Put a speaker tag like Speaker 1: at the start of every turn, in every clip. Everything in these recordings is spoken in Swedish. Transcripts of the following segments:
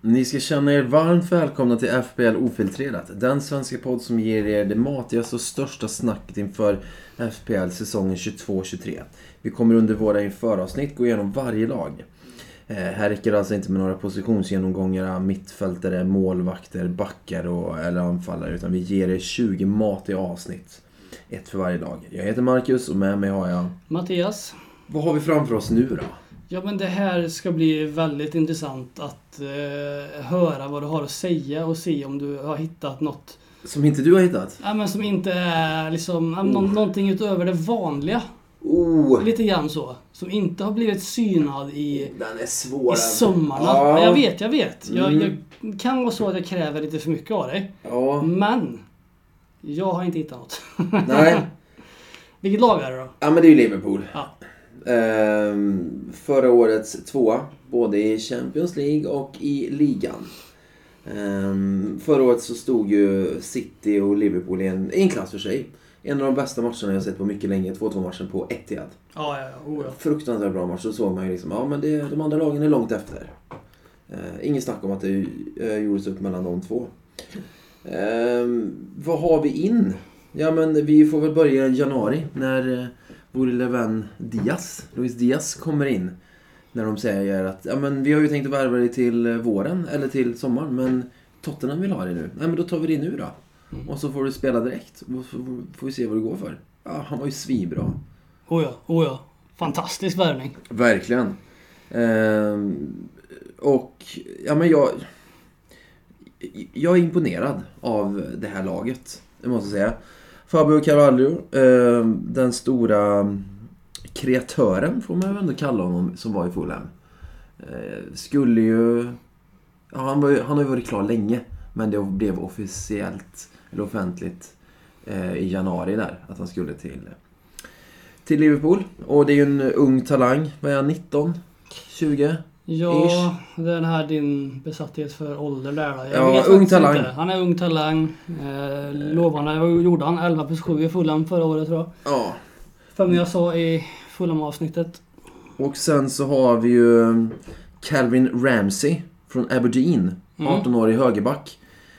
Speaker 1: Ni ska känna er varmt välkomna till FBL Ofiltrerat. Den svenska podd som ger er det matigaste och största snacket inför FPL säsongen 22-23. Vi kommer under våra införavsnitt gå igenom varje lag. Eh, här räcker det alltså inte med några positionsgenomgångar, mittfältare, målvakter, backar och, eller anfallare. Utan vi ger er 20 matiga avsnitt. Ett för varje lag. Jag heter Marcus och med mig har jag...
Speaker 2: Mattias,
Speaker 1: Vad har vi framför oss nu då?
Speaker 2: ja men det här ska bli väldigt intressant att eh, höra vad du har att säga och se om du har hittat något
Speaker 1: Som inte du har hittat?
Speaker 2: ja, men som inte är liksom, ja, nå- någonting utöver det vanliga.
Speaker 1: Oh!
Speaker 2: Lite grann så. Som inte har blivit synad i,
Speaker 1: Den är svår.
Speaker 2: i
Speaker 1: alltså.
Speaker 2: sömmarna.
Speaker 1: Ja.
Speaker 2: Ja. Jag vet, jag vet. Jag,
Speaker 1: Mm.
Speaker 2: jag kan vara så att jag kräver lite för mycket av dig.
Speaker 1: Ja.
Speaker 2: Men, jag har inte hittat något.
Speaker 1: Nej.
Speaker 2: Vilket lag är det då?
Speaker 1: Ja men det är ju Liverpool.
Speaker 2: Ja.
Speaker 1: Ehm, förra årets tvåa. Både i Champions League och i ligan. Ehm, förra året så stod ju City och Liverpool i en, i en klass för sig. En av de bästa matcherna jag sett på mycket länge. 2-2 matchen på Etihad.
Speaker 2: Ja, ja, ja. Oh, ja.
Speaker 1: Fruktansvärt bra match. Så såg man ju liksom, ja men det, de andra lagen är långt efter. Eh, Inget snack om att det eh, gjordes upp mellan de två. Eh, vad har vi in? Ja men vi får väl börja i januari när eh, vår lille vän Diaz, Luis Diaz kommer in. När de säger att ja, men vi har ju tänkt att värva dig till eh, våren eller till sommaren men Tottenham vill ha dig nu. Nej men då tar vi dig nu då. Och så får du spela direkt. Och så får vi se vad du går för. Ja, han var ju svinbra.
Speaker 2: Oh, ja, oh, ja. Fantastisk värvning.
Speaker 1: Verkligen. Ehm, och ja, men jag, jag är imponerad av det här laget, det måste jag säga. Fabio Carvalho, ehm, den stora kreatören får man ju ändå kalla honom, som var i Fulham. Eh, skulle ju... Ja, han, var ju han har ju varit klar länge, men det blev officiellt, eller offentligt, eh, i januari där, att han skulle till till Liverpool. Och det är ju en ung talang. Vad är han? 19? 20?
Speaker 2: Ja,
Speaker 1: Ish.
Speaker 2: den här din besatthet för ålder där då.
Speaker 1: Ja,
Speaker 2: vet
Speaker 1: ung
Speaker 2: faktiskt
Speaker 1: talang.
Speaker 2: inte. Han är ung talang. Eh, lovande. Vad gjorde han? 11 plus 7 i Fulham förra året tror jag.
Speaker 1: Ja.
Speaker 2: Som jag sa i Fulham-avsnittet.
Speaker 1: Och sen så har vi ju um, Calvin Ramsey från Aberdeen.
Speaker 2: Mm.
Speaker 1: 18 år i högerback.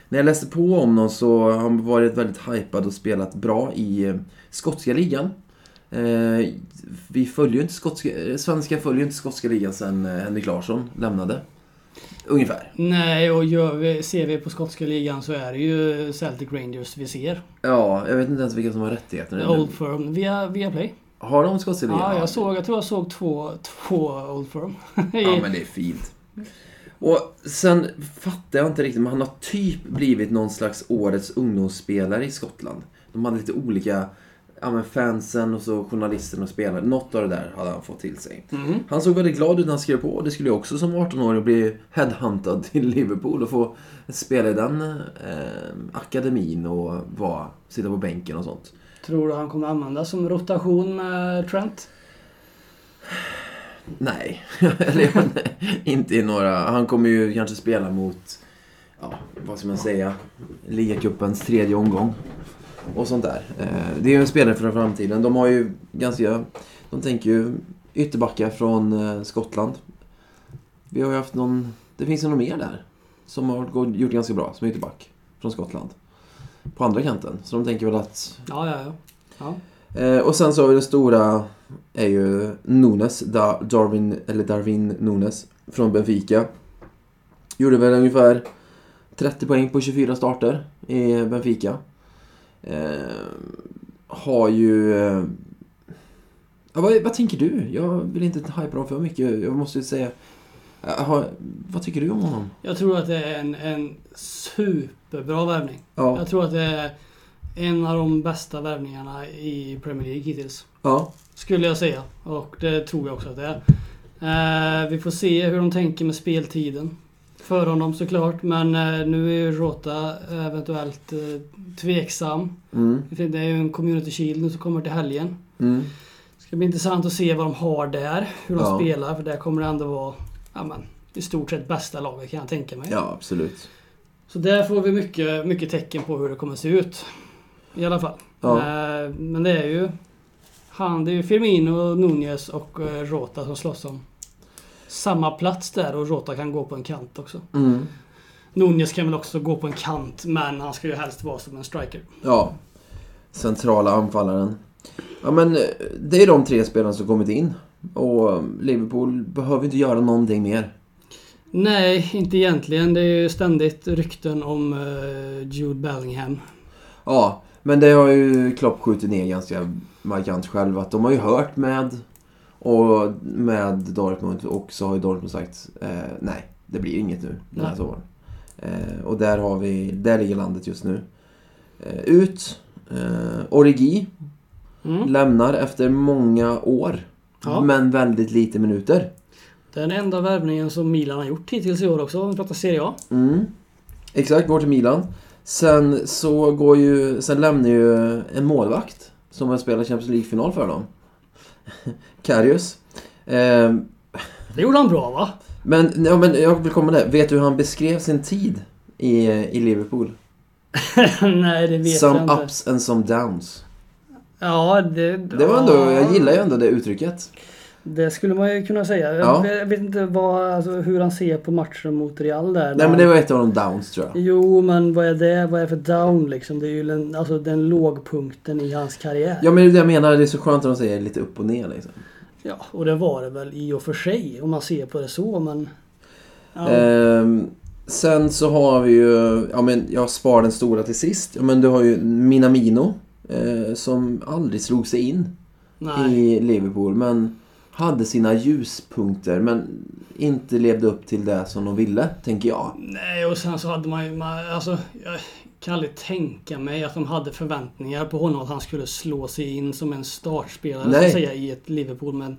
Speaker 1: När jag läste på om honom så har han varit väldigt hypad och spelat bra i eh, skotska ligan. Eh, vi följer ju inte skotska, eh, svenska följer ju inte skotska ligan sen eh, Henrik Larsson lämnade. Ungefär.
Speaker 2: Nej, och gör vi, ser vi på skotska ligan så är det ju Celtic Rangers vi ser.
Speaker 1: Ja, jag vet inte ens vilka som har rättigheterna.
Speaker 2: Old Firm via, via Play.
Speaker 1: Har de skotska ligan?
Speaker 2: Ja, jag, såg, jag tror jag såg två, två Old Firm.
Speaker 1: Ja, men det är fint. Och sen fattar jag inte riktigt, men han har typ blivit någon slags årets ungdomsspelare i Skottland. De hade lite olika, ja men fansen och så journalisterna och spelare. Något av det där hade han fått till sig.
Speaker 2: Mhm.
Speaker 1: Han såg väldigt glad ut när han skrev på. Det skulle jag också som 18-åring bli headhuntad till Liverpool och få spela i den eh, akademin och vara, sitta på bänken och sånt.
Speaker 2: Tror du han kommer användas som rotation med Trent?
Speaker 1: Nej, eller jag- inte i några. Han kommer ju kanske spela mot, ja, vad ska man säga, ligacupens tredje omgång. Och sånt där. Eh, Det är ju en spelare för framtiden. De har ju ganska, de tänker ju ytterbackar från eh, Skottland. Vi har ju haft någon, det finns ju någon mer där. Som har gå- gjort ganska bra som ytterback. Från Skottland. På andra kanten. Så de tänker väl att
Speaker 2: Ja, ja, ja. ja.
Speaker 1: Eh, och sen så har vi det stora är ju Nunes, da, Darwin, eller Darwin Nunes från Benfica. Gjorde väl ungefär 30 poäng på 24 starter i Benfica. Eh, har ju... Eh, ja, vad, vad tänker du? Jag vill inte hypa dem för mycket. Jag måste ju säga... eh, har- vad tycker du om honom?
Speaker 2: Jag tror att det är en, en superbra värvning.
Speaker 1: Ja.
Speaker 2: Jag tror att det är en av de bästa värvningarna i Premier League hittills.
Speaker 1: ja.
Speaker 2: Skulle jag säga. Och det tror jag också att det är. Eh, vi får se hur de tänker med speltiden. För honom såklart, men eh, nu är ju Rota eventuellt eh, tveksam.
Speaker 1: Mm.
Speaker 2: Det är ju en community shield nu som kommer till helgen.
Speaker 1: Mm.
Speaker 2: Det ska bli intressant att se vad de har där. Hur de
Speaker 1: Ja.
Speaker 2: spelar, för där kommer det ändå vara ja, men, i stort sett bästa laget kan jag tänka mig.
Speaker 1: Ja, absolut.
Speaker 2: Så där får vi mycket, mycket tecken på hur det kommer se ut. I alla fall.
Speaker 1: Ja.
Speaker 2: Eh, Men det är ju han, det är ju Firmino, Nunez och eh, Rota som slåss om samma plats där och Rota kan gå på en kant också.
Speaker 1: Mm.
Speaker 2: Nunez kan väl också gå på en kant, men han ska ju helst vara som en striker.
Speaker 1: Ja. Centrala anfallaren. Ja, men eh, det är de tre spelarna som kommit in. Och eh, Liverpool behöver inte göra någonting mer.
Speaker 2: Nej, inte egentligen. Det är ju ständigt rykten om eh, Jude Bellingham.
Speaker 1: Ja, men det har ju Klopp skjutit ner ganska markant själv. Att de har ju hört med, och med Dortmund och så har ju Dortmund sagt eh, nej, det blir inget nu den här
Speaker 2: Nej.
Speaker 1: sommaren. Eh, och där, har vi, där ligger landet just nu. Eh, ut. Eh, Origi
Speaker 2: Mm.
Speaker 1: lämnar efter många år.
Speaker 2: Ja.
Speaker 1: Men väldigt lite minuter.
Speaker 2: Den enda värvningen som Milan har gjort hittills i år också, om vi pratar Serie A.
Speaker 1: Mm. Exakt, går till Milan. Sen så går ju, sen lämnar ju en målvakt som har spelat Champions League-final för dem. Karius. Ehm,
Speaker 2: Det gjorde han bra va?
Speaker 1: men, ja, men jag vill komma där. Vet du hur han beskrev sin tid i, i Liverpool?
Speaker 2: Nej, det vet
Speaker 1: some
Speaker 2: jag inte.
Speaker 1: ups and some downs.
Speaker 2: Ja, det...
Speaker 1: Det var ändå, jag gillar ju ändå det uttrycket.
Speaker 2: Det skulle man ju kunna säga.
Speaker 1: Ja.
Speaker 2: Jag vet inte vad, alltså, hur han ser på matchen mot Real där.
Speaker 1: Nej men det var ett av de downs tror jag.
Speaker 2: Jo, men vad är det? Vad är det för down liksom? Det är ju den, alltså, den lågpunkten i hans karriär.
Speaker 1: Ja men det är det jag menar, det är så skönt att de säger lite upp och ner liksom.
Speaker 2: Ja, och det var det väl i och för sig om man ser på det så, men... Ja,
Speaker 1: Ehm, sen så har vi ju, ja men jag sparar den stora till sist. Ja, men du har ju Minamino. Eh, som aldrig slog sig in
Speaker 2: nej.
Speaker 1: i Liverpool. Men hade sina ljuspunkter. Men inte levde upp till det som de ville, tänker jag.
Speaker 2: nej, och sen så hade man ju... Man, alltså, jag kan aldrig tänka mig att de hade förväntningar på honom att han skulle slå sig in som en startspelare så
Speaker 1: Nej.
Speaker 2: att säga, i ett Liverpool. Men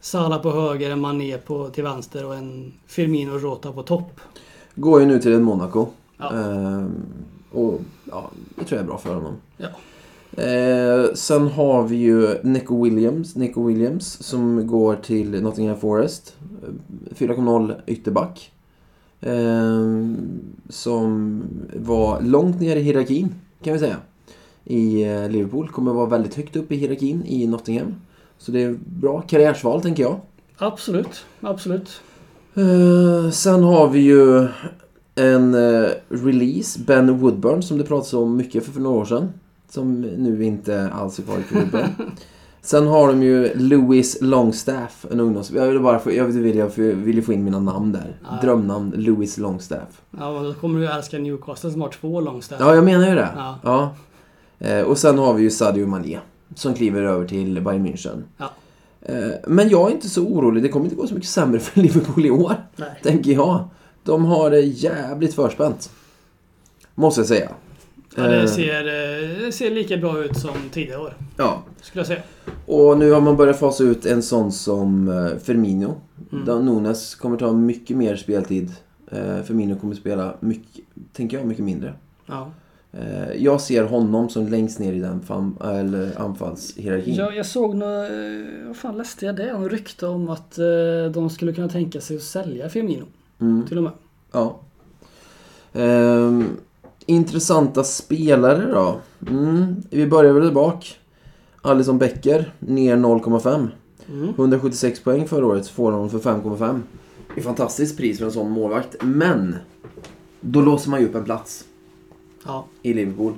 Speaker 2: Salah på höger, en Mané på, till vänster och en Firmino och Rota på topp.
Speaker 1: Går ju nu till ett Monaco.
Speaker 2: Ja.
Speaker 1: Ehm, och ja, det tror jag är bra för honom.
Speaker 2: Ja.
Speaker 1: Eh, sen har vi ju Nico Williams, Nico Williams som går till Nottingham Forest. Eh, 4,0 ytterback. Eh, som var långt ner i hierarkin kan vi säga. I eh, Liverpool. Kommer vara väldigt högt upp i hierarkin i Nottingham. Så det är bra karriärsval tänker jag.
Speaker 2: Absolut, absolut.
Speaker 1: Eh, sen har vi ju en eh, release, Ben Woodburn, som det pratades om mycket för, för några år sedan. Som nu inte alls är kvar i klubben. sen har de ju Louis Longstaff, en ungdoms... Jag ville bara få, jag ville, jag ville få in mina namn där.
Speaker 2: Ja.
Speaker 1: Drömnamn Louis Longstaff.
Speaker 2: Ja, men då kommer du älska Newcastle som har två långställ.
Speaker 1: Ja, jag menar ju det.
Speaker 2: Ja.
Speaker 1: Eh, och sen har vi ju Sadio Mané, som kliver över till Bayern München.
Speaker 2: Ja.
Speaker 1: Eh, men jag är inte så orolig, det kommer inte gå så mycket sämre för Liverpool i år
Speaker 2: Nej.
Speaker 1: tänker jag. De har det jävligt förspänt. Måste jag säga.
Speaker 2: Ja, det,
Speaker 1: Eh,
Speaker 2: ser, eh, det ser lika bra ut som tidigare år,
Speaker 1: ja.
Speaker 2: skulle jag säga.
Speaker 1: Och nu har man börjat fasa ut en sån som eh, Firmino.
Speaker 2: Mm.
Speaker 1: Mm. Nunes kommer ta mycket mer speltid. Eh, Firmino kommer spela, mycket, tänker jag, mycket mindre.
Speaker 2: Ja.
Speaker 1: Eh, Jag ser honom som längst ner i den fam- eller anfallshierarkin.
Speaker 2: Jag, jag såg nå... eh, Vad fan läste jag det? En rykte om att eh, de skulle kunna tänka sig att sälja Firmino.
Speaker 1: Mm.
Speaker 2: Till och med.
Speaker 1: Ja. Ehm, intressanta spelare då? Mm. Vi börjar väl där bak. Alisson Becker, ner 0,5.
Speaker 2: Mm.
Speaker 1: 176 poäng förra året får honom för 5,5. Det är fantastiskt pris för en sån målvakt. Men! Då låser man ju upp en plats
Speaker 2: Ja.
Speaker 1: i Liverpool.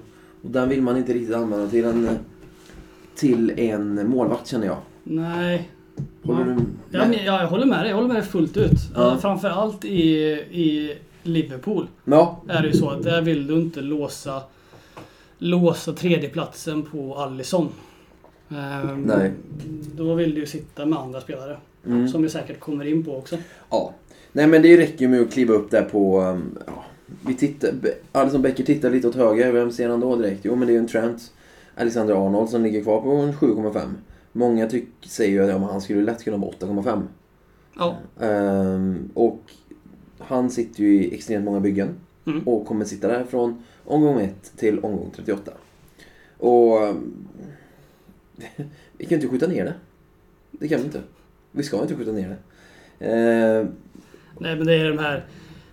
Speaker 1: Och den vill man inte riktigt använda till en, till en målvakt känner jag.
Speaker 2: Nej.
Speaker 1: Håller
Speaker 2: Ja.
Speaker 1: du
Speaker 2: Ja, men,
Speaker 1: med?
Speaker 2: ja, jag håller med dig. Jag håller med dig fullt ut.
Speaker 1: Ja.
Speaker 2: Ja. Framförallt i, i Liverpool
Speaker 1: Ja.
Speaker 2: är det ju så att där vill du inte låsa, låsa tredjeplatsen på Alisson. Ehm,
Speaker 1: Nej.
Speaker 2: Då vill du ju sitta med andra spelare.
Speaker 1: Mm.
Speaker 2: Som vi säkert kommer in på också.
Speaker 1: Ja. Nej men det räcker ju med att kliva upp där på... um, Ja. Vi tittar... Be- Alisson Becker tittar lite åt höger. Vem ser han då direkt? Jo men det är ju en Trent. Alexander Arnold som ligger kvar på en 7,5. Många tyck, säger ju att ja, men han skulle lätt kunna vara 8,5.
Speaker 2: Ja.
Speaker 1: Ehm, och han sitter ju i extremt många byggen.
Speaker 2: Mm.
Speaker 1: Och kommer sitta där från omgång 1 till omgång 38. Och... um, vi kan ju inte skjuta ner det. Det kan vi inte. Vi ska inte skjuta ner det. Ehm,
Speaker 2: Nej men det är de här...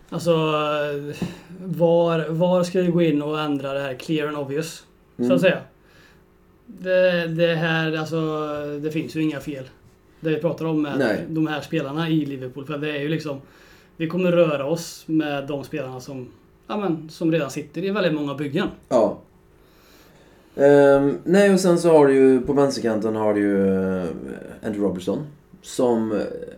Speaker 2: Alltså... eh, Var, var ska vi gå in och ändra det här clear and obvious? Så
Speaker 1: Mm.
Speaker 2: att säga. Det, det här, alltså... Det finns ju inga fel. det vi pratar om med
Speaker 1: Nej.
Speaker 2: de här spelarna i Liverpool. För det är ju liksom, vi kommer röra oss med de spelarna som, ja, men, som redan sitter i väldigt många byggen.
Speaker 1: Ja. Ehm, nej, och sen så har du ju på vänsterkanten har du ju eh, Andrew Robertson. Som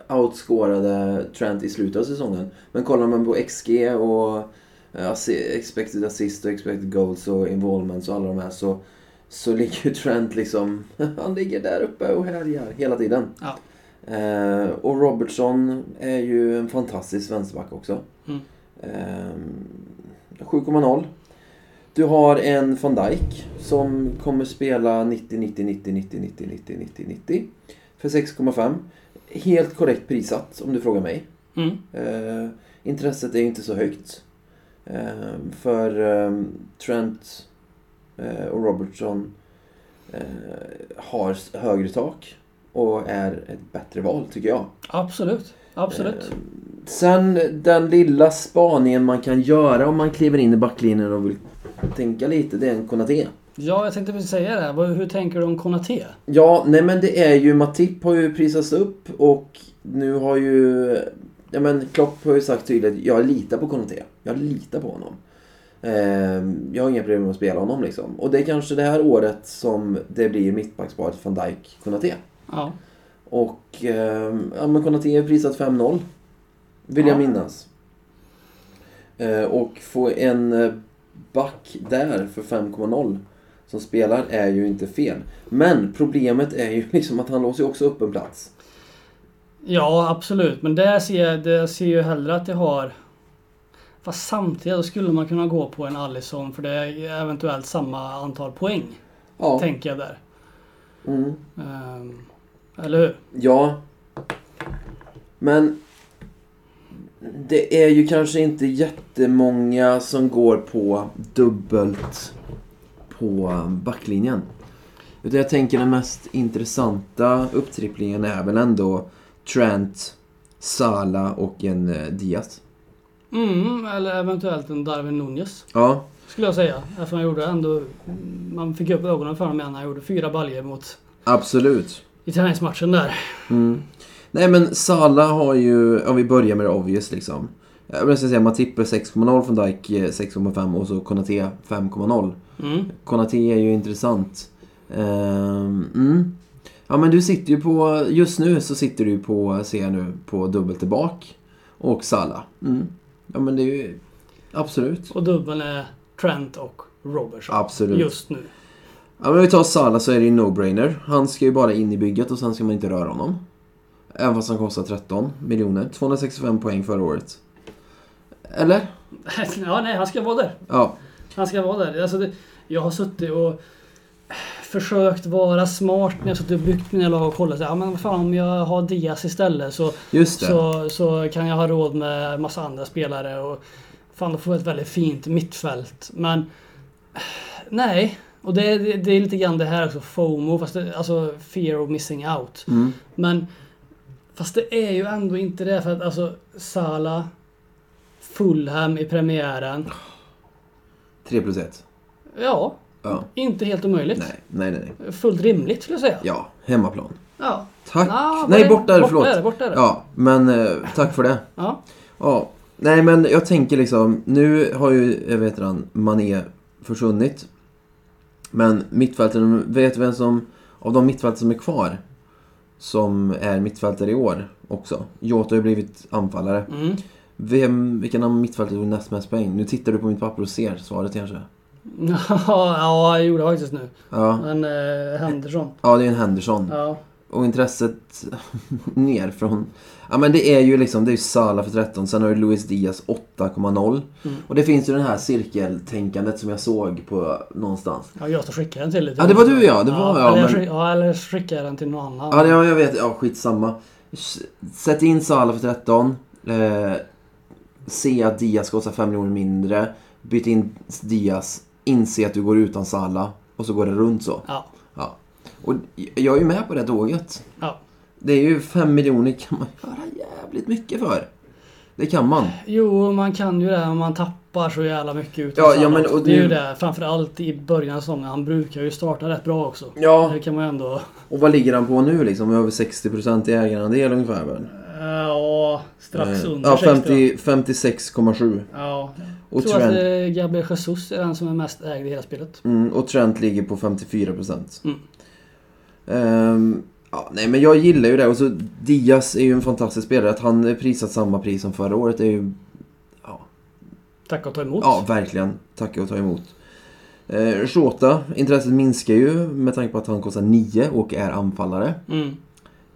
Speaker 1: eh, outscorade Trent i slutet av säsongen. Men kollar man på XG och eh, assi- expected assist och expected goals och involvements och alla de här så, så ligger ju Trent liksom... Han ligger där uppe och härjar hela tiden.
Speaker 2: Ja.
Speaker 1: Eh, och Robertson är ju en fantastisk vänsterback också. Ehm,
Speaker 2: Mm.
Speaker 1: Eh, 7,0. Du har en van Dijk som kommer spela 90, 90, 90, 90, 90, 90, 90, 90 för 6,5. Helt korrekt prissatt om du frågar mig.
Speaker 2: Mm.
Speaker 1: Eh, intresset är ju inte så högt. Eh, för eh, Trent eh, och Robertson eh, har s- högre tak och är ett bättre val tycker jag.
Speaker 2: Absolut, absolut.
Speaker 1: Eh, Sen den lilla spaningen man kan göra om man kliver in i backlinjen och vill tänka lite, det är en Konaté.
Speaker 2: Ja, jag tänkte precis säga det. här. Vad- Hur tänker du om Konaté?
Speaker 1: Ja, nej men det är ju Matip har ju prisats upp och nu har ju... Ja men Klopp har ju sagt tydligt, jag litar på Konaté. Jag litar på honom. Ehm, jag har inga problem med att spela honom liksom. Och det är kanske det här året som det blir mittbacksparet van Dijk Konaté.
Speaker 2: Ja.
Speaker 1: Och ehm, ja men Konaté är prisat 5-0. Vill jag
Speaker 2: Ja.
Speaker 1: minnas. Eh, och få en eh, back där för 5,0 som spelar är ju inte fel. Men problemet är ju liksom att han låser ju också upp en plats.
Speaker 2: Ja, absolut. Men där ser jag, där ser jag ju hellre att jag har... Fast samtidigt då skulle man kunna gå på en Alisson för det är eventuellt samma antal poäng.
Speaker 1: Ja.
Speaker 2: Tänker jag där.
Speaker 1: Mm.
Speaker 2: Ehm, eller hur?
Speaker 1: Ja. Men det är ju kanske inte jättemånga som går på dubbelt på backlinjen. Utan jag tänker den mest intressanta upptripplingen är väl ändå Trent, Sala och en eh, Diaz.
Speaker 2: Mm, eller eventuellt en Darwin Nunez.
Speaker 1: Ja,
Speaker 2: Skulle jag säga. Eftersom han gjorde ändå... Man fick upp ögonen för honom igen. Han gjorde fyra baljer mot...
Speaker 1: absolut.
Speaker 2: I träningsmatchen där.
Speaker 1: Mm. Nej men Sala har ju, om vi börjar med det obvious liksom. Jag vill säga Matip är 6,0 från Dijk eh, 6,5 och så Konaté 5,0.
Speaker 2: Mm.
Speaker 1: Konaté är ju intressant. Ehm, mm. Ja men du sitter ju på, just nu så sitter du ju på, ser jag nu, på dubbelt tillbaka. Och Sala. Mm. Ja men det är ju, absolut.
Speaker 2: Och dubbeln är Trent och Robertson.
Speaker 1: Absolut.
Speaker 2: Just nu.
Speaker 1: Ja men om vi tar Sala så är det ju no-brainer. Han ska ju bara in i bygget och sen ska man inte röra honom. Även fast han kostar 13 miljoner. 265 poäng förra året. Eller?
Speaker 2: ja, nej, han ska vara där.
Speaker 1: Ja.
Speaker 2: Han ska vara där. Alltså det, jag har suttit och försökt vara smart när jag suttit och byggt mina lag och kollat. så här, Ja, men vad fan, om jag har Diaz istället så,
Speaker 1: Just det.
Speaker 2: så, så kan jag ha råd med massa andra spelare. Och fan, då får jag ett väldigt fint mittfält. Men eh, nej. Och det, det, det är lite grann det här också, FOMO, fast det, alltså fear of missing out.
Speaker 1: Mm.
Speaker 2: Men fast det är ju ändå inte det för att alltså Sala, Fulham i premiären.
Speaker 1: 3 plus 1.
Speaker 2: Ja,
Speaker 1: Ja.
Speaker 2: inte helt omöjligt.
Speaker 1: Nej, nej, nej. nej.
Speaker 2: Fullt rimligt skulle jag säga.
Speaker 1: Ja, hemmaplan.
Speaker 2: Ja.
Speaker 1: Tack.
Speaker 2: Nå,
Speaker 1: nej,
Speaker 2: var det-
Speaker 1: borta är det, förlåt.
Speaker 2: Borta är det, borta är det.
Speaker 1: Ja, men eh, tack för det.
Speaker 2: Ja.
Speaker 1: Ja. Nej, men jag tänker liksom, nu har ju, jag vet han, Mané försvunnit. Men mittfältaren, vet vem som, av de mittfältare som är kvar, som är mittfältare i år också. Jota har ju blivit anfallare.
Speaker 2: Mm.
Speaker 1: Vem, vilken av mittfältare tog näst mest poäng? Nu tittar du på mitt papper och ser svaret kanske.
Speaker 2: ja, jag gjorde faktiskt nu.
Speaker 1: Ja,
Speaker 2: Men eh, Henderson.
Speaker 1: ja det är en Henderson.
Speaker 2: Ja.
Speaker 1: Och intresset ner från... Ja men det är ju liksom, det är ju Sala för 13, sen har du Luis Diaz 8,0.
Speaker 2: Mm.
Speaker 1: Och det finns ju den här cirkeltänkandet som jag såg på någonstans.
Speaker 2: ja, jag skickade den till dig.
Speaker 1: Ja, det var du, ja. Det var jag,
Speaker 2: Eller,
Speaker 1: men-
Speaker 2: skick- ja, eller skickade jag den till någon annan.
Speaker 1: Ja, det, ja jag vet, ja skitsamma. S- Sätt in Sala för 13. Eh, se att Diaz kostar 5 miljoner mindre. Byt in Diaz. Inse att du går utan Sala. Och så går det runt så.
Speaker 2: ja.
Speaker 1: Ja. Och jag är ju med på det tåget.
Speaker 2: ja.
Speaker 1: Det är ju 5 miljoner kan man göra jävligt mycket för. Det kan man.
Speaker 2: Jo, man kan ju det om man tappar så jävla mycket ut.
Speaker 1: Ja, ja, men- och
Speaker 2: det är ju
Speaker 1: nu-
Speaker 2: det. Framförallt i början av säsongen. Han brukar ju starta rätt bra också.
Speaker 1: Ja,
Speaker 2: Det kan man ju ändå...
Speaker 1: och vad ligger han på nu liksom? Över 60% i ägarandel ungefär väl?
Speaker 2: Ja, strax
Speaker 1: Eh,
Speaker 2: under
Speaker 1: Ja,
Speaker 2: 60.
Speaker 1: 50 56,7.
Speaker 2: Ja.
Speaker 1: Och
Speaker 2: Jag tror att
Speaker 1: Trent,
Speaker 2: eh, Gabriel Jesus är den som är mest ägd i hela spelet.
Speaker 1: mm, och Trent ligger på 54%.
Speaker 2: Mm.
Speaker 1: Ehm, ja, nej, men jag gillar ju det. Och så Diaz är ju en fantastisk spelare. Att han är prisat samma pris som förra året är ju... Ja,
Speaker 2: Tack och ta emot.
Speaker 1: Ja, verkligen. Tacka och ta emot. Eh, Shota, intresset minskar ju med tanke på att han kostar 9 och är anfallare.
Speaker 2: Mm.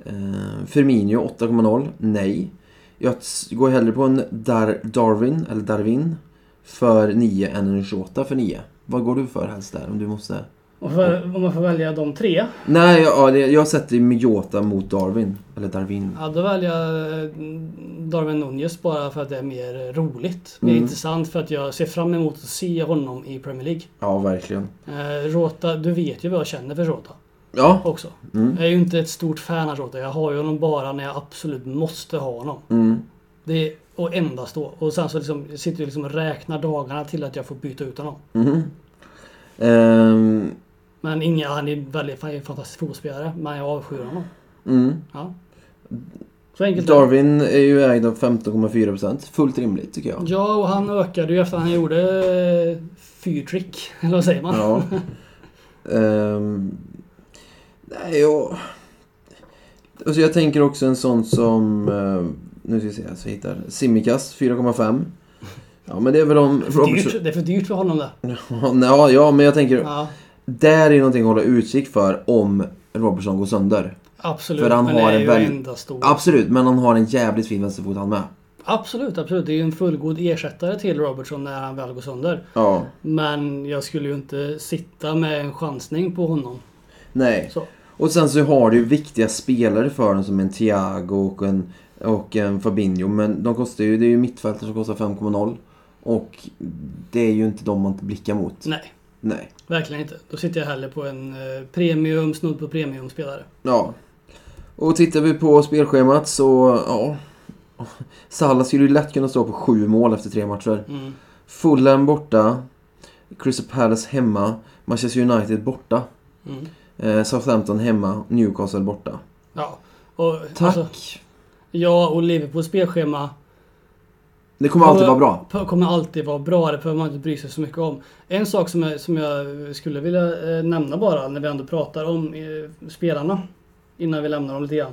Speaker 1: Eh, Firmino 8,0. Nej. Jag s- går hellre på en Dar- Darwin, eller Darwin för 9 än en Shota för 9. Vad går du för helst där om du måste?
Speaker 2: Och för, om man får välja de tre.
Speaker 1: Nej, ja, det- jag sätter ju Mjota mot Darwin. Eller Darwin.
Speaker 2: Ja, då väljer jag eh, Darwin Nunez bara för att det är mer roligt. Mer
Speaker 1: Mm.
Speaker 2: intressant för att jag ser fram emot att se honom i Premier League.
Speaker 1: Ja, verkligen.
Speaker 2: Eh, Rota, du vet ju vad jag känner för Rota
Speaker 1: Ja.
Speaker 2: också.
Speaker 1: Mm.
Speaker 2: Jag är ju inte ett stort fan av Rota. Jag har ju honom bara när jag absolut måste ha honom.
Speaker 1: Mm.
Speaker 2: Det är, och endast då. Och sen så liksom, sitter jag liksom och räknar dagarna till att jag får byta ut honom.
Speaker 1: Mhm. Ehm,
Speaker 2: Men inga, han är väldigt han är en fantastisk fotbollsspelare, men jag avskyr honom.
Speaker 1: mm.
Speaker 2: Ja. Så enkelt är det.
Speaker 1: Darwin är ju ägd av 15,4%. Fullt rimligt tycker jag.
Speaker 2: Ja, och han ökade ju efter han gjorde eh, fyrtrick. Eller vad säger man?
Speaker 1: Ja. Ehm, nej, jag... Alltså jag tänker också en sån som... eh, nu ska vi se, så jag hittar. Simicast 4,5. Ja, men det är väl om...
Speaker 2: Det är Dyrt, det är för dyrt för honom det.
Speaker 1: Ja, ja, men jag tänker...
Speaker 2: Ja,
Speaker 1: Där är någonting att hålla utkik för om Robertson går sönder.
Speaker 2: absolut.
Speaker 1: För han
Speaker 2: men
Speaker 1: har
Speaker 2: det är
Speaker 1: en
Speaker 2: ju
Speaker 1: väldigt-
Speaker 2: endast då.
Speaker 1: Absolut, men han har en jävligt fin vänsterfot han med.
Speaker 2: Absolut, absolut. Det är ju en fullgod ersättare till Robertson när han väl går sönder.
Speaker 1: Ja.
Speaker 2: Men jag skulle ju inte sitta med en chansning på honom.
Speaker 1: Nej.
Speaker 2: Så.
Speaker 1: Och sen så har du ju viktiga spelare för dem som en Thiago och en, och en Fabinho. Men de kostar ju, det är ju mittfältare som kostar 5,0. Och det är ju inte de man blickar mot.
Speaker 2: Nej,
Speaker 1: Nej.
Speaker 2: verkligen inte. Då sitter jag hellre på en eh, premium, snudd på premiumspelare.
Speaker 1: Ja. Och tittar vi på spelschemat så, ja. Salah skulle ju lätt kunna stå på sju mål efter tre matcher.
Speaker 2: Mm.
Speaker 1: Fulham borta. Crystal Palace hemma. Manchester United borta.
Speaker 2: Mm.
Speaker 1: Eh, Southampton hemma. Newcastle borta.
Speaker 2: Ja. Och,
Speaker 1: Tack!
Speaker 2: alltså, ja, och Liverpools spelschema
Speaker 1: det kommer alltid vara bra.
Speaker 2: p- kommer alltid vara bra. Det behöver man inte bry sig så mycket om. En sak som jag, som jag skulle vilja eh, nämna bara när vi ändå pratar om eh, spelarna innan vi lämnar dem lite grann.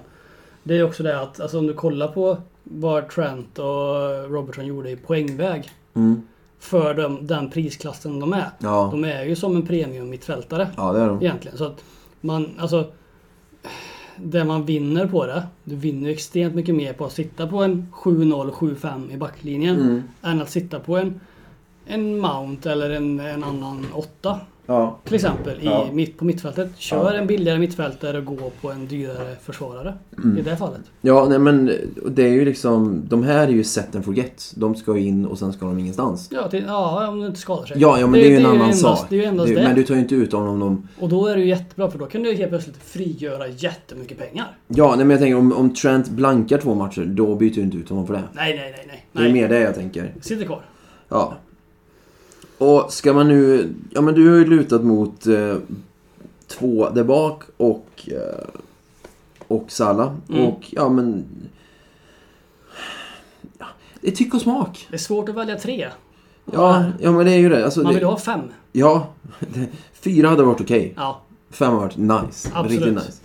Speaker 2: Det är också det att alltså, om du kollar på vad Trent och Robertson gjorde i poängväg
Speaker 1: Mm.
Speaker 2: för dem, den prisklassen de är.
Speaker 1: Ja.
Speaker 2: De är ju som en premium mittfältare
Speaker 1: Ja, det är de.
Speaker 2: egentligen. Så att man, alltså, det man vinner på det, du vinner ju extremt mycket mer på att sitta på en 7-0, 7-5 i backlinjen
Speaker 1: Mm.
Speaker 2: än att sitta på en, en Mount eller en, en annan åtta
Speaker 1: Ja.
Speaker 2: till exempel i,
Speaker 1: Ja.
Speaker 2: mitt, på mittfältet. Kör
Speaker 1: Ja.
Speaker 2: en billigare mittfältare och gå på en dyrare försvarare
Speaker 1: Mm.
Speaker 2: i det fallet.
Speaker 1: Ja, nej men det är ju liksom... De här är ju set and forget. De ska ju in och sen ska de ingenstans.
Speaker 2: Ja, till, ja om du inte skadar sig.
Speaker 1: Ja, ja men det, är ju en annan
Speaker 2: endast,
Speaker 1: sak.
Speaker 2: Det är ju endast
Speaker 1: Det-
Speaker 2: det.
Speaker 1: Men du tar ju inte ut dem om de...
Speaker 2: Och då är det ju jättebra för då kan du helt plötsligt frigöra jättemycket pengar.
Speaker 1: Ja, nej men jag tänker om, om Trent blankar två matcher, då byter du inte ut honom för det.
Speaker 2: Nej, nej, nej, nej.
Speaker 1: Det
Speaker 2: nej.
Speaker 1: är mer det jag tänker.
Speaker 2: Sitter kvar.
Speaker 1: Ja. Och ska man nu... Ja men du har ju lutat mot eh, två där bak och... Eh, och Salah.
Speaker 2: Mm.
Speaker 1: Och ja men... Ja, Det är tyck och smak.
Speaker 2: Det är svårt att välja tre.
Speaker 1: Ja, ja men det är ju det. Alltså,
Speaker 2: Man
Speaker 1: det...
Speaker 2: vill ju ha fem.
Speaker 1: Ja, fyra hade varit okej.
Speaker 2: Ja,
Speaker 1: Fem har varit nice.
Speaker 2: Absolut.
Speaker 1: Riktigt nice.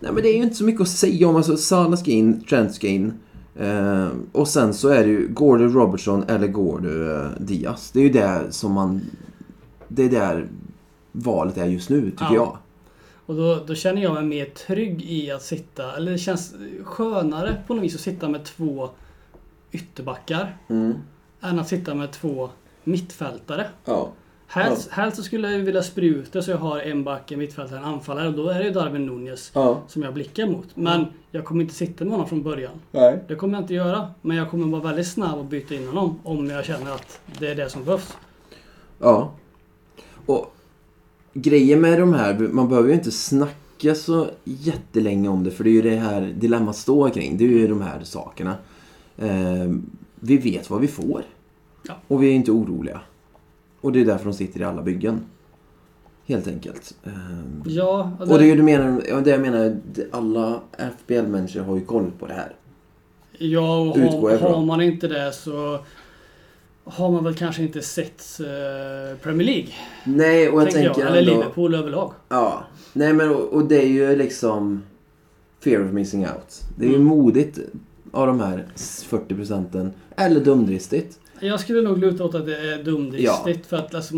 Speaker 1: Nej men det är ju inte så mycket att säga om. Alltså Salah ska in, Trent ska in. Eh, och sen så är det ju, går du Robertson eller går du eh, Diaz? Det är ju det som man... Det är där valet är just nu, tycker
Speaker 2: Ja.
Speaker 1: jag.
Speaker 2: Och då, då känner jag mig mer trygg i att sitta, eller det känns skönare på något vis att sitta med två ytterbackar
Speaker 1: Mm.
Speaker 2: än att sitta med två mittfältare.
Speaker 1: Ja.
Speaker 2: Helst, helst så skulle jag ju vilja spruta så jag har en back, en mittfältare, en anfallare och då är det ju Darwin Nunez
Speaker 1: Ja.
Speaker 2: som jag blickar mot. Men jag kommer inte sitta med honom från början.
Speaker 1: Nej.
Speaker 2: Det kommer jag inte göra, men jag kommer vara väldigt snabb att byta in honom om jag känner att det är det som behövs.
Speaker 1: Ja. Och grejen med de här, man behöver ju inte snacka så jättelänge om det för det är ju det här dilemmat står kring. Det är ju de här sakerna. Ehm, vi vet vad vi får.
Speaker 2: Ja.
Speaker 1: Och vi är inte oroliga. Och det är därför de sitter i alla byggen. Helt enkelt. Ehm,
Speaker 2: Ja,
Speaker 1: och det är ju det, menar, ja, det jag menar, det- alla FBL-människor har ju koll på det här.
Speaker 2: Ja, och
Speaker 1: Utgår
Speaker 2: har,
Speaker 1: jag ifrån.
Speaker 2: har man inte det så har man väl kanske inte sett eh, Premier League.
Speaker 1: Nej, och jag
Speaker 2: tänker
Speaker 1: tänker
Speaker 2: jag, eller
Speaker 1: ändå...
Speaker 2: Liverpool överlag.
Speaker 1: Ja. Nej, men och, och det är ju liksom... Fear of missing out. Det är ju
Speaker 2: Mm.
Speaker 1: modigt av de här 40 procenten. Eller dumdristigt.
Speaker 2: Jag skulle nog luta åt att det är dumdristigt. För att alltså,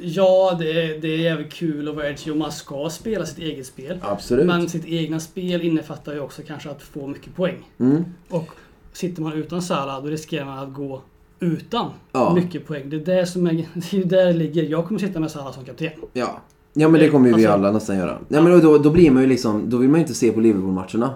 Speaker 2: ja, det är, det är jävligt kul och vara edgy och man ska spela sitt eget spel.
Speaker 1: Absolut.
Speaker 2: Men sitt egna spel innefattar ju också kanske att få mycket poäng.
Speaker 1: Mm.
Speaker 2: Och sitter man utan Salah då riskerar man att gå utan
Speaker 1: Ja.
Speaker 2: mycket poäng. Det är där som är, det är ju där det ligger. Jag kommer sitta med Salah som kapten.
Speaker 1: Ja. Ja men det kommer ju vi
Speaker 2: Alltså-
Speaker 1: alla nästan göra. Nej men då, då blir man ju liksom, då vill man ju inte se på Liverpool-matcherna.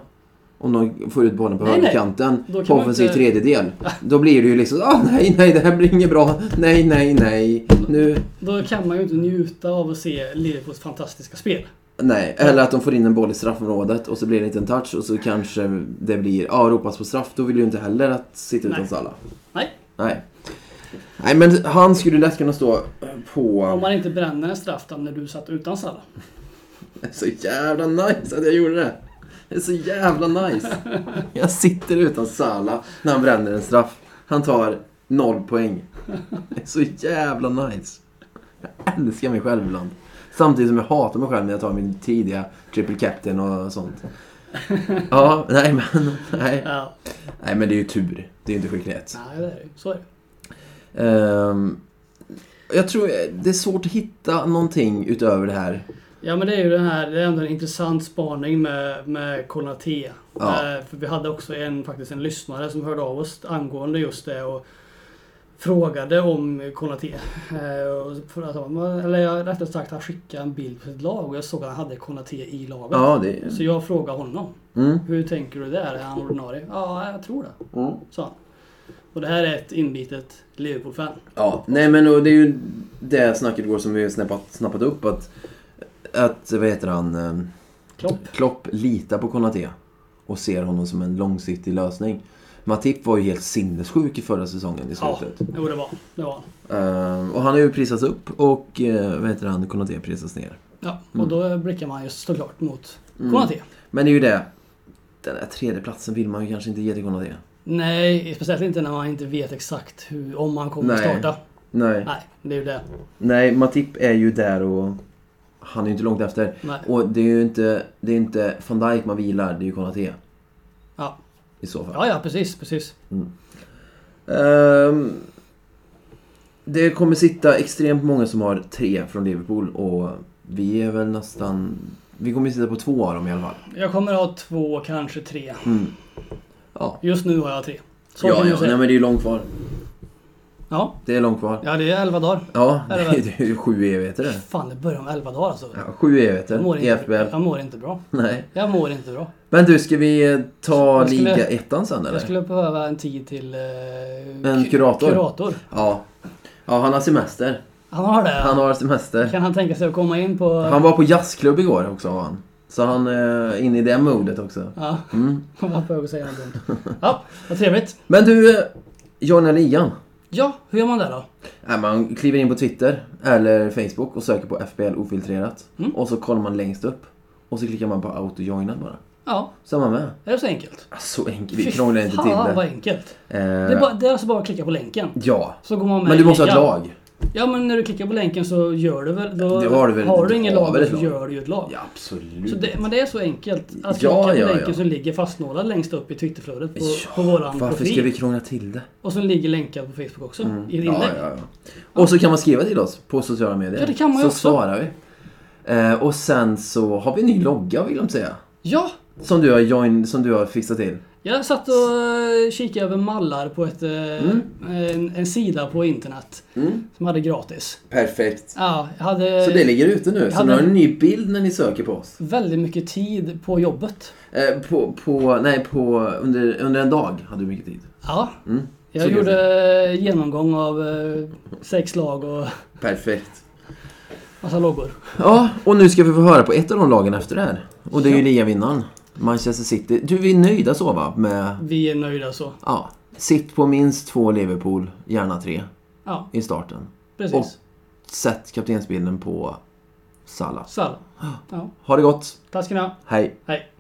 Speaker 1: Om de får ut bollen på
Speaker 2: Nej, nej.
Speaker 1: högerkanten
Speaker 2: Då kan
Speaker 1: på
Speaker 2: man
Speaker 1: offensiv
Speaker 2: inte-
Speaker 1: tredjedel. Då blir det ju liksom, ah, nej nej det här blir inget bra. Nej nej nej. Nu,
Speaker 2: Då kan man ju inte njuta av att se Liverpools fantastiska spel.
Speaker 1: nej. Eller att de får in en boll i straffområdet och så blir det inte en touch och så kanske det blir, ja ah, ropas på straff. Då vill du inte heller att sitta
Speaker 2: Nej.
Speaker 1: utan Salah.
Speaker 2: Nej,
Speaker 1: Nej. Nej men han skulle lätt kunna stå på...
Speaker 2: om man inte bränner en straff då när du satt utan Salah.
Speaker 1: Det är så jävla nice att jag gjorde det. Det är så jävla nice. Jag sitter utan Sala när han bränner en straff. Han tar noll poäng. Det är så jävla nice. Jag älskar mig själv ibland. Samtidigt som jag hatar mig själv när jag tar min tidiga triple captain och sånt. Ja, nej men, nej.
Speaker 2: Ja,
Speaker 1: Nej men det är ju tur. Det är ju inte skicklighet.
Speaker 2: nej, det är det ju. Så är det.
Speaker 1: Ehm, jag tror det är svårt att hitta någonting utöver det här.
Speaker 2: Ja men det är ju den här, det är ändå en intressant spaning med, med Konaté.
Speaker 1: Ja.
Speaker 2: Eh, för vi hade också en, faktiskt en lyssnare som hörde av oss angående just det och frågade om Konaté. Eh, och för att han- eller jag- rättare sagt han skickade en bild på sitt lag och jag såg att han hade Konaté i laget.
Speaker 1: Ja, det är...
Speaker 2: Så jag frågade honom.
Speaker 1: Mm.
Speaker 2: Hur tänker du där? Är han ordinarie? Ja, jag tror det.
Speaker 1: Mm.
Speaker 2: Sa han. Och det här är ett inbitet Liverpool-fan.
Speaker 1: Ja, nej men och det är ju det snacket går som vi har snappat, snappat upp att, att vad heter han, eh,
Speaker 2: Klopp.
Speaker 1: Klopp litar på Konaté och ser honom som en långsiktig lösning. Matip var ju helt sinnessjuk i förra säsongen i
Speaker 2: Ja,
Speaker 1: slutet.
Speaker 2: jo, det var han. Det var han.
Speaker 1: Eh, och han har ju prisats upp och eh, vad heter han, Konaté prisats ner.
Speaker 2: Ja, och
Speaker 1: Mm.
Speaker 2: då blickar man ju såklart mot
Speaker 1: Mm.
Speaker 2: Konaté.
Speaker 1: Men det är ju det, den där tredje platsen vill man ju kanske inte ge till Konaté.
Speaker 2: Nej, speciellt inte när man inte vet exakt hur, om han kommer
Speaker 1: Nej.
Speaker 2: att starta.
Speaker 1: Nej.
Speaker 2: Nej, det är ju det.
Speaker 1: nej, Matip är ju där och han är ju inte långt efter.
Speaker 2: Nej.
Speaker 1: Och det är ju inte, det är inte van Dijk man vilar, det är ju Konaté
Speaker 2: Ja.
Speaker 1: i så fall.
Speaker 2: ja, ja precis, precis.
Speaker 1: Ehm, det kommer sitta extremt många som har tre från Liverpool och vi är väl nästan... Vi kommer sitta på två av dem i alla fall. Mm.
Speaker 2: Jag kommer ha två, kanske tre.
Speaker 1: Ja,
Speaker 2: Just nu har jag tre. Så
Speaker 1: ja,
Speaker 2: kan
Speaker 1: ja nej,
Speaker 2: jag säga.
Speaker 1: men det är ju långt kvar.
Speaker 2: Ja,
Speaker 1: Det är långt kvar.
Speaker 2: ja, det är elva dagar.
Speaker 1: Ja, det
Speaker 2: Är det
Speaker 1: är,
Speaker 2: väl?
Speaker 1: det är ju sju evigheter det.
Speaker 2: Fan, det börjar om elva dagar alltså.
Speaker 1: Ja, sju E
Speaker 2: Jag mår,
Speaker 1: evigheter i
Speaker 2: inte,
Speaker 1: FBL.
Speaker 2: jag mår inte bra.
Speaker 1: Nej.
Speaker 2: Jag mår inte bra.
Speaker 1: Men du, ska vi ta
Speaker 2: Jag skulle-
Speaker 1: liga ettan sen eller?
Speaker 2: Jag skulle behöva en tid till... eh,
Speaker 1: En
Speaker 2: ku-
Speaker 1: kurator.
Speaker 2: kurator.
Speaker 1: Ja. Ja, han har semester.
Speaker 2: Han har det.
Speaker 1: Han har semester.
Speaker 2: Kan han tänka sig att komma in på...
Speaker 1: Han var på jazzklubb igår också har han. Så han är inne i det modet också.
Speaker 2: Ja,
Speaker 1: Mm.
Speaker 2: han var på väg att säga något dumt. Ja, vad trevligt.
Speaker 1: Men du, eh, Johnny Ligan.
Speaker 2: Ja, hur gör man det då?
Speaker 1: Nej, man kliver in på Twitter eller Facebook och söker på FBL ofiltrerat.
Speaker 2: Mm.
Speaker 1: Och så kollar man längst upp. Och så klickar man på auto-joina bara.
Speaker 2: Ja,
Speaker 1: Så är man med.
Speaker 2: är det så enkelt?
Speaker 1: Ah, Så enkelt, vi krånglar inte
Speaker 2: Fy
Speaker 1: till
Speaker 2: fan, vad
Speaker 1: det.
Speaker 2: enkelt. Det är,
Speaker 1: Eh,
Speaker 2: bara, det är alltså bara att klicka på länken.
Speaker 1: ja.
Speaker 2: Så går man med
Speaker 1: Men du
Speaker 2: i
Speaker 1: måste ha ett
Speaker 2: ligan.
Speaker 1: lag.
Speaker 2: Ja, men när du klickar på länken så gör du väl... Då
Speaker 1: Det har du väl-
Speaker 2: har
Speaker 1: du
Speaker 2: du ingen
Speaker 1: har
Speaker 2: lag
Speaker 1: väl
Speaker 2: då
Speaker 1: ett
Speaker 2: så
Speaker 1: lag.
Speaker 2: gör du ju ett lag.
Speaker 1: Ja, absolut.
Speaker 2: Så det, men det är så enkelt. Att klicka
Speaker 1: Ja,
Speaker 2: på
Speaker 1: ja,
Speaker 2: länken
Speaker 1: ja.
Speaker 2: som ligger fastnålad längst upp i Twitterflödet på,
Speaker 1: Ja,
Speaker 2: på våran
Speaker 1: Varför
Speaker 2: profil.
Speaker 1: ska vi krångla till det?
Speaker 2: Och som ligger länkad på Facebook också. I ett
Speaker 1: Ja,
Speaker 2: inlägg.
Speaker 1: ja, ja. Och så kan man skriva till oss på sociala medier.
Speaker 2: Ja, det kan man ju
Speaker 1: så
Speaker 2: också.
Speaker 1: svarar vi. Eh, och sen så har vi en ny logga vill de säga.
Speaker 2: ja,
Speaker 1: Som du har, join, som du har fixat till.
Speaker 2: Jag satt och eh, kikade över mallar på ett, eh,
Speaker 1: Mm.
Speaker 2: en, en sida på internet som hade gratis.
Speaker 1: Perfekt.
Speaker 2: Ja, jag hade
Speaker 1: Så det ligger ute nu. Så
Speaker 2: hade-
Speaker 1: nu har ni en ny bild när ni söker på oss.
Speaker 2: väldigt mycket tid på jobbet.
Speaker 1: Eh, på, på, nej, på, under, under en dag hade du mycket tid.
Speaker 2: Ja,
Speaker 1: Mm.
Speaker 2: jag
Speaker 1: Så kan
Speaker 2: gjorde
Speaker 1: jag
Speaker 2: eh, genomgång av eh, sex lag och
Speaker 1: Perfekt.
Speaker 2: massa loggor.
Speaker 1: Ja, och nu ska vi få höra på ett av de lagen efter det här. Och det är ju ligavinnaren. Manchester City. Du, vi är nöjda så va? Med,
Speaker 2: Vi är nöjda så.
Speaker 1: ja. Sitt på minst två Liverpool, gärna tre,
Speaker 2: Ja,
Speaker 1: i starten.
Speaker 2: precis.
Speaker 1: Sätt kaptensbilden på Salah.
Speaker 2: Salah. Ja.
Speaker 1: Ha det gott!
Speaker 2: Tack ska ni ha.
Speaker 1: Hej!
Speaker 2: Hej.